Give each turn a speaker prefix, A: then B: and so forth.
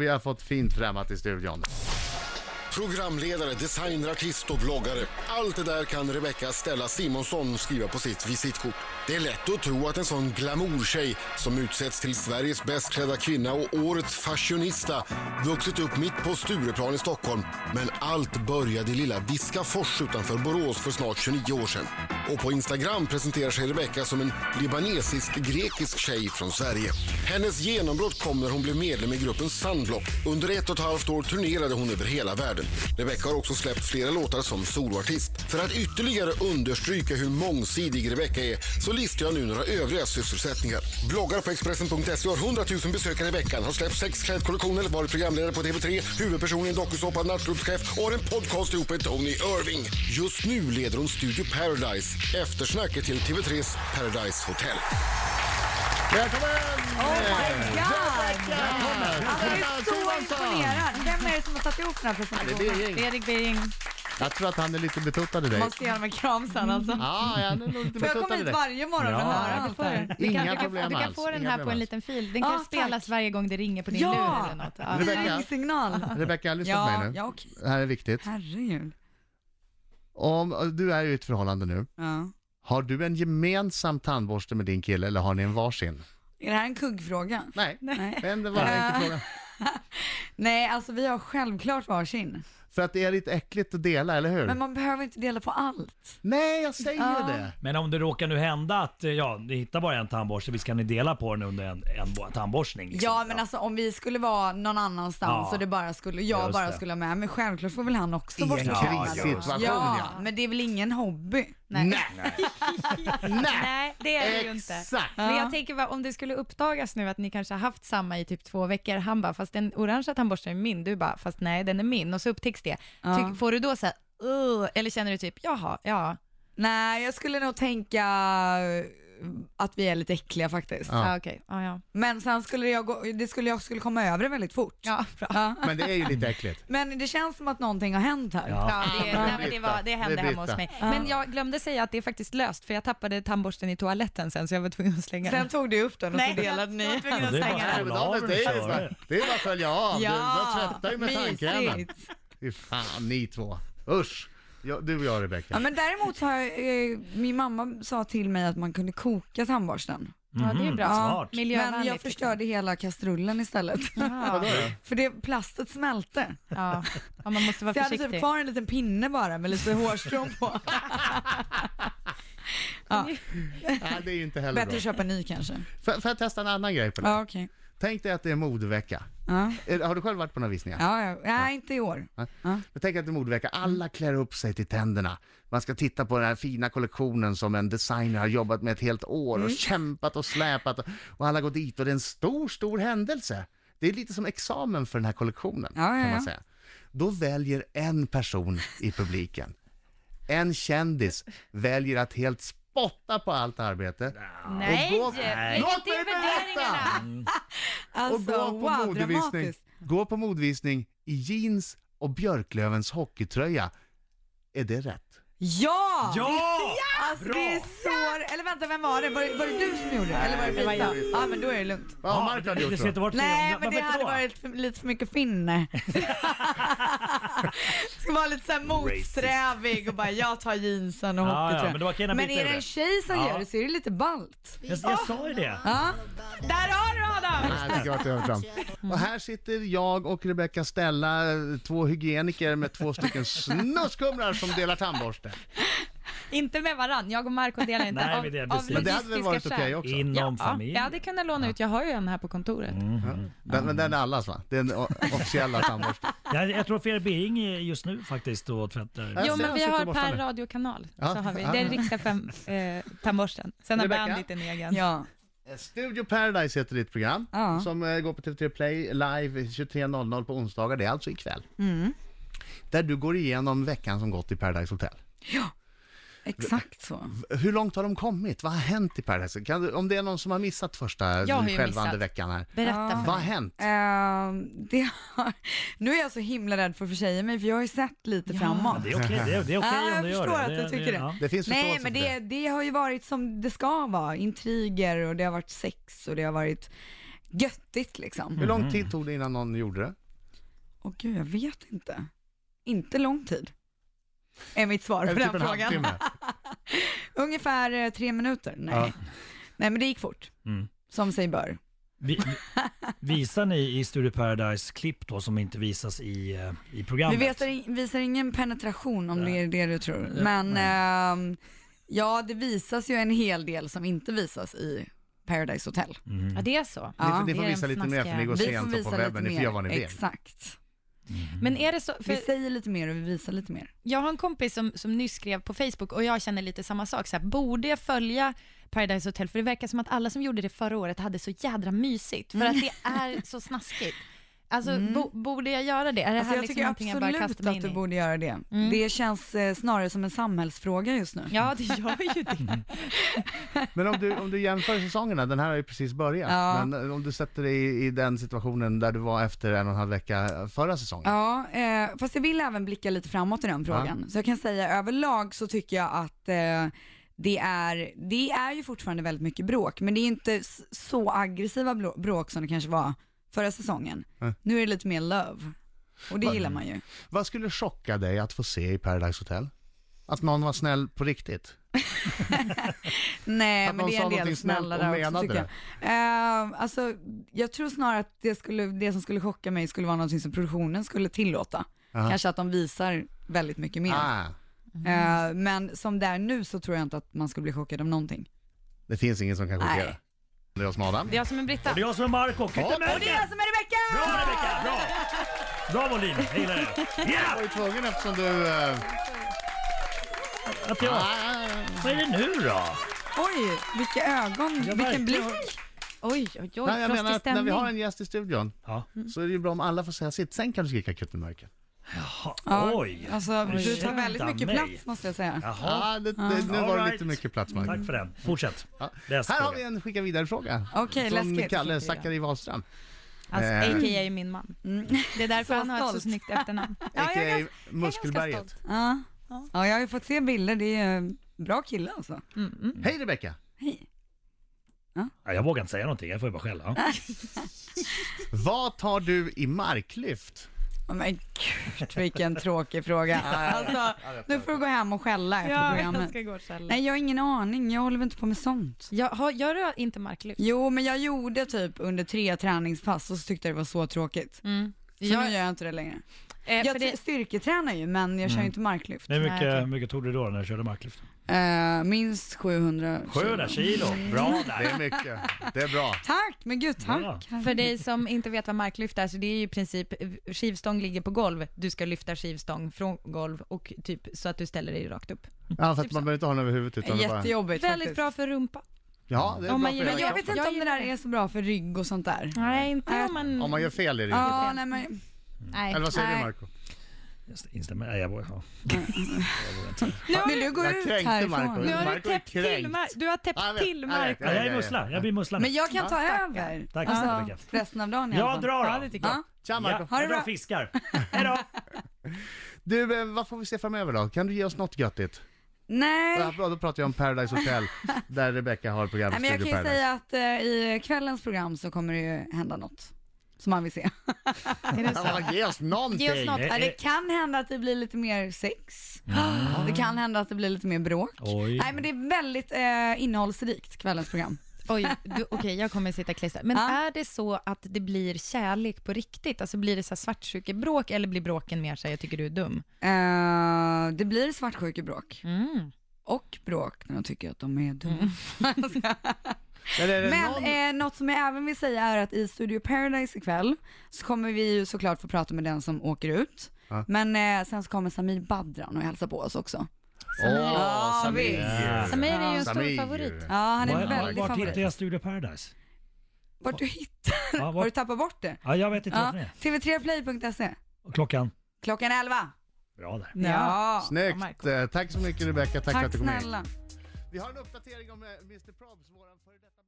A: Vi har fått fint främmat i studion.
B: Programledare, designer, artist och bloggare. Allt det där kan Rebecca Stella Simonsson skriva på sitt visitkort. Det är lätt att tro att en sån glamourtjej som utsätts till Sveriges bäst klädda kvinna och årets fashionista vuxit upp mitt på Stureplan i Stockholm. Men allt började i lilla Viskafors utanför Borås för snart 29 år sedan. Och på Instagram presenterar sig Rebecca som en libanesisk-grekisk tjej från Sverige. Hennes genombrott kom när hon blev medlem i gruppen Sunblock. Under ett och ett halvt år turnerade hon över hela världen. Rebecca har också släppt flera låtar som soloartist. För att ytterligare understryka hur mångsidig Rebecca är så listar jag nu några övriga sysselsättningar. Bloggar på Expressen.se E har 100 000 besökare i veckan, har släppt sex klädkollektioner, varit programledare på TV3, huvudperson i en dokusåpa, nattklubbschef och har en podcast ihop med Tony Irving. Just nu leder hon Studio Paradise, eftersnacket till TV3s Paradise Hotel.
A: Välkommen!
C: Oh my god! Alltså, jag är
A: Jonas
C: så
A: Johansson!
C: imponerad. Vem är det som har satt ihop den här
A: Ja,
C: presentationen?
A: det är Birging.
C: Erik Bering.
A: Jag tror att han är lite betuttad i dig.
C: Måste ge honom en kram sen alltså.
A: Ja, han är nog lite
C: Får jag komma
A: betuttad i
C: hit
A: dig.
C: varje morgon och
D: Ja,
C: höra
D: det
C: allt det
D: får
C: här?
A: Inga
E: du kan,
A: problem
E: Du kan
A: alls.
E: få den
A: Inga
E: här
A: problem
E: på en
A: alls.
E: liten fil. Den kan
C: Ah,
E: spelas varje gång det ringer på din
C: Ja!
E: lur eller något. Ja.
A: Rebecca?
C: Ringsignal.
A: Rebecka, lyssna på
C: Ja,
A: mig nu.
C: ja okej.
A: Det här är viktigt.
C: Herregud.
A: Om du är i ett förhållande nu,
C: Ja.
A: har du en gemensam tandborste med din kille eller har ni en varsin?
C: Är det här en kuggfråga?
A: Nej,
C: Nej.
A: men det var en enkel fråga.
C: Nej, alltså vi har självklart varsin.
A: För att det är lite äckligt att dela, eller hur?
C: Men man behöver inte dela på allt.
A: Nej, jag säger
C: Ja.
A: det.
D: Men om det råkar nu hända att eh, ja, ni hittar bara en tandborste, visst kan ni dela på den under en, en bo- tandborstning? liksom?
C: Ja, men alltså om vi skulle vara någon annanstans
D: Ja.
C: och det bara skulle, jag
D: Just
C: bara
D: det.
C: skulle ha med, men självklart får väl han också
A: I
C: bort
A: en
D: Ja,
A: krissituation,
C: Ja,
A: ja.
C: men det är väl ingen hobby?
A: Nej. Nej.
E: Nej, det är det ju inte.
A: Exakt.
E: Men jag tänker va, om det skulle uppdagas nu att ni kanske har haft samma i typ två veckor, han bara, fast den orangea tandborsten är min, du bara, fast nej den är min, och så upptäcks det.
C: Ja.
E: Ty, får du då så här, "Ugh", eller känner du typ, jaha, ja,
C: Nej, jag skulle nog tänka eh, att vi är lite äckliga faktiskt.
A: Ja.
E: ja. okej, ja, ja.
C: Men sen skulle jag, gå, det skulle, jag skulle komma över det väldigt fort.
E: Ja, bra.
C: Ja.
A: Men det är ju lite äckligt.
C: Men det känns som att någonting har hänt här.
D: Ja.
E: Ja, det,
A: Ah,
E: nej, men det, var, det
A: Britta.
E: hände
A: Det är
E: hemma
A: Britta.
E: hos mig. Men jag glömde säga att det är faktiskt löst, för jag tappade tandborsten i toaletten sen, så jag var tvungen att slänga den.
C: Sen tog du upp den och
E: Nej,
C: så delade
E: jag
C: ni.
E: var tvungen
D: Ja,
E: att
D: det är
E: slänga
A: Nej, men David, det,
E: den.
D: bara-
A: är ju så här- det är bara att följa av. Du, du tröttar ju med tanken.
C: mysigt.
A: Fy fan, ni två. Usch. Jag, du och jag,
C: Ja,
A: Rebecka.
C: men däremot så har jag, eh, min mamma sa till mig att man kunde koka tandborsten.
E: Ja, det är bra.
C: Ja,
D: Mm-hmm. Smart.
E: Miljövänligt.
C: Men jag
E: liksom-
C: förstörde hela kastrullen istället.
E: Ja,
C: För det, plastet smälte.
E: ja. ja, man måste vara
C: Så jag hade typ
E: försiktig.
C: kvar en liten pinne bara med lite hårstrån på.
A: Nej, det är ju inte heller
C: Bättre
A: bra.
C: att köpa ny kanske.
A: Får får jag testa en annan grej på det?
C: Ja, okej.
A: Tänk dig att det är modevecka.
C: Ja.
A: Eller, Har du själv varit på några visningar?
C: Ja, ja. Nej, inte i år.
A: Men tänk att det är modevecka, alla klär upp sig till tänderna. Man ska titta på den här fina kollektionen som en designer har jobbat med ett helt år och kämpat och släpat. Och alla går dit och det är en stor, stor händelse. Det är lite som examen för den här kollektionen,
C: Ja, ja,
A: kan man
C: ja.
A: säga. Då väljer en person i publiken, en kändis, väljer att helt spotta på allt arbete.
E: Nej,
A: Och gå-
E: lägg
A: Låt
E: inte in
A: mig berätta!
E: värderingarna.
A: Och
C: Alltså,
A: gå, på
C: wow,
A: modevisning,
C: dramatiskt.
A: gå på modevisning i jeans och Björklövens hockeytröja. Är det rätt?
C: Ja!
D: Ja!
C: Alltså det är så... Eller vänta, vem var det? Var, det- var det du som gjorde det? Eller var det
E: det var
C: Brita? Ja, men då är det lugnt.
A: Vad har Mark hade
D: det
A: gjort
D: ska
A: då?
D: inte vara tre om
C: Nej,
D: det-
C: men det
D: varför
C: hade
D: då?
C: varit för, lite för mycket finne. Ska vara lite såhär motsträvig och bara jag tar jeansen och
D: Ja, ja,
C: hockeytröjan.
D: men det var okej när
C: men
D: Brita
C: är det
D: gjorde
C: en
D: det.
C: tjej som
D: Ja.
C: gör det så är det lite balt.
D: Jag, jag sa ju det.
C: Ja. Där har du Adam!
A: Nej, det kan jag inte överfram. Och här sitter jag och Rebecca Stella, två hygieniker med två stycken snuskhumrar som delar tandborste.
E: Inte med varann, jag och Marco delar inte.
D: Nej,
E: av-
D: men det är
E: av
D: precis.
A: Men det hade väl
E: logistiska
A: varit okej
E: skäl.
A: också?
D: Inom
E: Ja, jag
D: familjen.
E: hade kunnat låna ut, jag har ju en här på kontoret.
D: Mm.
A: Den, men den är allas va? Det är den o- officiella tandborsten.
D: Jag, jag tror Fredrik Bering är just nu faktiskt och tvättar.
A: Ja.
E: Jo,
A: ser
E: men
A: de
E: vi
A: sitter
E: har
A: borta
E: per
A: nu.
E: radiokanal.
A: Ja.
E: Så har vi.
A: Ja.
E: Det är riksdag fem, eh, tandborsten. Sen har
A: Rebecca?
E: Bandit en egen.
C: Ja.
A: Studio Paradise heter ditt program,
C: Ja.
A: som eh, går på TV3 Play live 23.00 på onsdagar, det är alltså ikväll.
C: Mm.
A: Där du går igenom veckan som gått i Paradise Hotel.
C: Exakt så.
A: Hur långt har de kommit? Vad har hänt i Paradise? Kan du, om det är någon som har missat första
E: Jag har ju
A: självande
E: missat.
A: veckan här.
E: Berätta för
A: Vad har
E: mig.
A: hänt?
C: Ehm, det har, nu är jag så himla rädd för att försäga mig för jag har ju sett lite framåt.
D: Det är okej det, är- det är okej
C: Ja,
D: om
C: jag
D: du gör
C: förstår att
D: det.
C: du tycker det.
D: ja.
A: Det finns
C: Nej
A: förståelse
C: men
A: för
C: det, det har ju varit som det ska vara, intriger och det har varit sex och det har varit göttigt liksom.
A: Hur lång tid tog det innan någon gjorde det?
C: Åh gud, jag vet inte. Inte lång tid. Är mitt svar på
A: Eller
C: den
A: typ en
C: frågan.
A: halvtimme?
C: Ungefär eh, tre minuter. Nej.
D: Ja.
C: Nej, men det gick fort.
D: Mm.
C: Som sig bör.
D: Vi, vi- visar ni i Studio Paradise klipp då som inte visas i, eh, i
C: Vi
D: programmet?
C: visar, in- visar ingen penetration om det är det du tror.
D: Ja,
C: Men ehm, ja, det visas ju en hel del som inte visas i Paradise Hotel.
D: Mhm.
E: Ja, det är så.
A: Ni får, ni
E: det
A: får
E: är
A: visa
E: en
A: lite mer för ni
E: snaskiga-
A: går
C: Vi får
A: sent och
C: visa
A: på
C: lite
A: webben, ni
C: mer.
A: får göra vad ni vill.
C: Exakt.
E: Men
D: Mm.
E: är det så, för
C: Vi säger lite mer och vi visar lite mer.
E: jag har en kompis som, som nyss skrev på Facebook och jag känner lite samma sak. Så här, borde jag följa Paradise Hotel? För det verkar som att alla som gjorde det förra året hade så jädra mysigt. För att det är så snaskigt. Alltså, bo, borde jag göra det? Är det
C: Alltså,
E: här
C: jag
E: liksom
C: tycker
E: någonting jag bara
C: absolut
E: kastar mig
C: att
E: in
C: du
E: i? Mm.
C: borde göra det. Det känns eh, snarare som en samhällsfråga just nu.
E: Ja, det gör ju det.
A: Men om du, om du jämför säsongerna, den här har ju precis börjat.
C: Ja.
A: Men eh, om du sätter dig i, i den situationen där du var efter en och en halv vecka eh, förra säsongen.
C: Ja, eh, fast jag vill även blicka lite framåt i den frågan. Så jag kan säga överlag så tycker jag att eh, det, är, det är ju fortfarande väldigt mycket bråk, men det är ju inte s- så aggressiva blå- bråk som det kanske var förra säsongen. Nu är det lite mer love. Och det gillar man ju.
A: Vad skulle chocka dig att få se i Paradise Hotel? Att någon var snäll på riktigt?
C: Nej,
A: Att
C: men
A: någon
C: det
A: sa
C: är en
A: någonting
C: del
A: snällt och
C: snällare också
A: menade
C: tycker jag. Eh, alltså, jag tror snarare att det, skulle, det som skulle chocka mig skulle vara någonting som produktionen skulle tillåta.
A: Aha.
C: Kanske att de visar väldigt mycket mer.
A: Ah,
C: Eh, men som det är nu så tror jag inte att man skulle bli chockad av någonting.
A: det finns ingen som kan
C: Nej.
A: chockera. Det är jag som är Adam.
E: Det är jag som är Britta.
D: Och det är jag som är Marco, knyter med
C: jag som är Rebecka!
D: Bra Rebecka, bra! Bra volym, jag gillar det.
A: Jag
D: Ja!
A: var ju tvungen eftersom du... eh,
D: Att jag,
A: ah,
D: vad är det nu då?
C: Oj, vilka ögon, vilken
D: verkligen.
C: blick.
E: Oj, oj, oj,
A: Nej, jag
E: frostig
A: menar att när vi
E: stämning.
A: har en gäst i studion
D: Ja.
A: så är det ju bra om alla får säga sitt. Sen kan du skrika kutt i mörker.
D: Ha,
C: Ja,
D: oj!
C: Alltså, du
D: Ursäkta
C: tar väldigt mycket
D: mig.
C: plats måste jag säga.
D: Jaha,
A: Ah, det, det, nu var det
D: Alright.
A: lite mycket plats, Mark.
D: tack för den. Fortsätt.
A: Ja.
D: Läs
A: Här har
D: frågan.
A: vi en skicka vidare-fråga.
C: Okej,
A: Från
C: läskigt.
A: Kalle Zackari Wahlström.
E: Alltså,
A: Eh.
E: a.k.a. min man. Det Mm. är därför
C: Så
E: han har ett så
C: stolt.
E: snyggt efternamn. jag är
A: A.k.a.
E: ganska- jag är ganska
A: Muskelberget.
E: stolt.
C: Ja. ja, jag har ju fått se bilder, det är en bra kille alltså.
E: mm.
A: Hej Rebecka!
D: Ja, jag vågar inte säga någonting, jag får ju bara skälla. Ja.
A: Vad tar du i marklyft?
C: Oh, men gud, vilken tråkig fråga. Alltså, nu får du gå hem och skälla efter
E: Ja, jag
C: programmet.
E: ska gå och skälla.
C: Nej, jag har ingen aning, jag håller väl inte på med sånt.
E: Jag har, gör du inte marklyft?
C: Jo, men jag gjorde typ under tre träningspass och så tyckte jag det var så tråkigt. Så
E: Mm. Jag-
C: nu gör jag inte det längre.
E: Eh,
C: Jag
E: för
C: t-
E: det,
C: styrketränar ju, men jag kör
A: Mm.
C: ju inte marklyft.
D: Hur mycket,
E: Nej, okej.
D: hur mycket tog du då när du körde marklyft?
C: Eh, minst 700
D: 700 kilo, bra där.
A: Det är mycket. Det är bra.
C: Tack, men gud
D: Bra.
C: tack.
E: för dig som inte vet vad marklyft är, så det är ju i princip eh, skivstång ligger på golv, du ska lyfta skivstång från golv och typ så att du ställer dig rakt upp.
A: Ja, för att man behöver inte ha den över huvudet utan det bara...
C: Jättejobbigt
E: Väldigt
C: faktiskt.
E: bra för rumpa.
A: Ja, det är
E: Om
A: bra
E: man
A: för
E: gillar-
A: hela
C: Men jag
A: kroppen.
C: vet inte
E: Jag
C: om det där
E: gillar
C: är så bra för rygg och sånt där.
E: Nej, inte om man...
A: Om man gör fel är det ju...
C: Ja, nej men
E: Äh, Nej.
A: Eller vad säger du
C: Nej.
A: Marco?
D: Just, instämmer. Nej, jag vågar, ja.
C: vill du gå
A: Jag
C: ut
A: kränkte Marco.
E: Nu
C: härifrån?
E: har du
A: Marco är
E: täppt till,
A: kränkt.
E: Mar- du har täppt
A: Ja, jag vet,
E: till
A: jag vet,
E: Mark.
D: Ja, jag är mussla, jag blir mussla.
C: Men jag kan ta över.
D: Tack så
C: Alltså,
D: mycket.
C: resten av dagen i alla
D: Jag
C: fall.
D: drar
E: det
D: då.
E: tycker jag.
A: Tja Marco!
D: Ja,
C: Ha det
D: jag drar
C: bra.
D: fiskar. Hejdå!
A: Du, eh, vad får vi se framöver då? Kan du ge oss något göttigt? Ja,
C: Nej.
A: bra, då pratar jag om Paradise Hotel, där Rebecca har programmet
C: nej, men jag kan
A: Studio
C: ju
A: Paradise.
C: säga att eh, i kvällens program så kommer det ju hända något som man vill se.
A: Ja, ge oss någonting!
E: Ge oss något.
C: Ja, det kan hända att det blir lite mer sex. Det kan hända att det blir lite mer bråk.
D: Oj.
C: Nej men det är väldigt eh, innehållsrikt, kvällens program.
E: Oj, du- okej jag kommer sitta klistrad. Men
C: Ja.
E: är det så att det blir kärlek på riktigt? Alltså blir det så här svartsjukebråk eller blir bråken mer så här, jag tycker du är dum?
C: Eh, det blir svartsjukebråk.
E: Mm.
C: Och bråk när de tycker att de är
D: Mm.
C: dumma.
A: Men är det
C: Men
A: någon...
C: eh, något som jag även vill säga är att i Studio Paradise ikväll så kommer vi ju såklart få prata med den som åker ut.
A: Ja.
C: Men eh, sen så kommer Samir Badran och hälsa på oss också.
A: Åh,
C: Ja,
A: Samir!
D: visst.
E: Samir är ju en
A: Samir.
E: stor favorit.
C: Ja, han är
D: Var-
C: en väldigt
D: Vart hittar
C: favorit.
D: jag Studio Paradise?
C: Vart du hittar?
D: Ja,
C: Har du
D: vart,
C: tappat bort det?
D: ja, jag vet inte
C: Ja,
D: vart den är.
C: TV3play.se.
D: Och Klockan?
C: Klockan 11.
D: Bra där.
E: Ja,
A: Snyggt!
E: Marco.
A: Eh, Tack så mycket Rebecca, tack, för att
C: Tack
A: du kom hit.
C: snälla.
A: Vi har en uppdatering om eh, Mr Probs, våran före detta...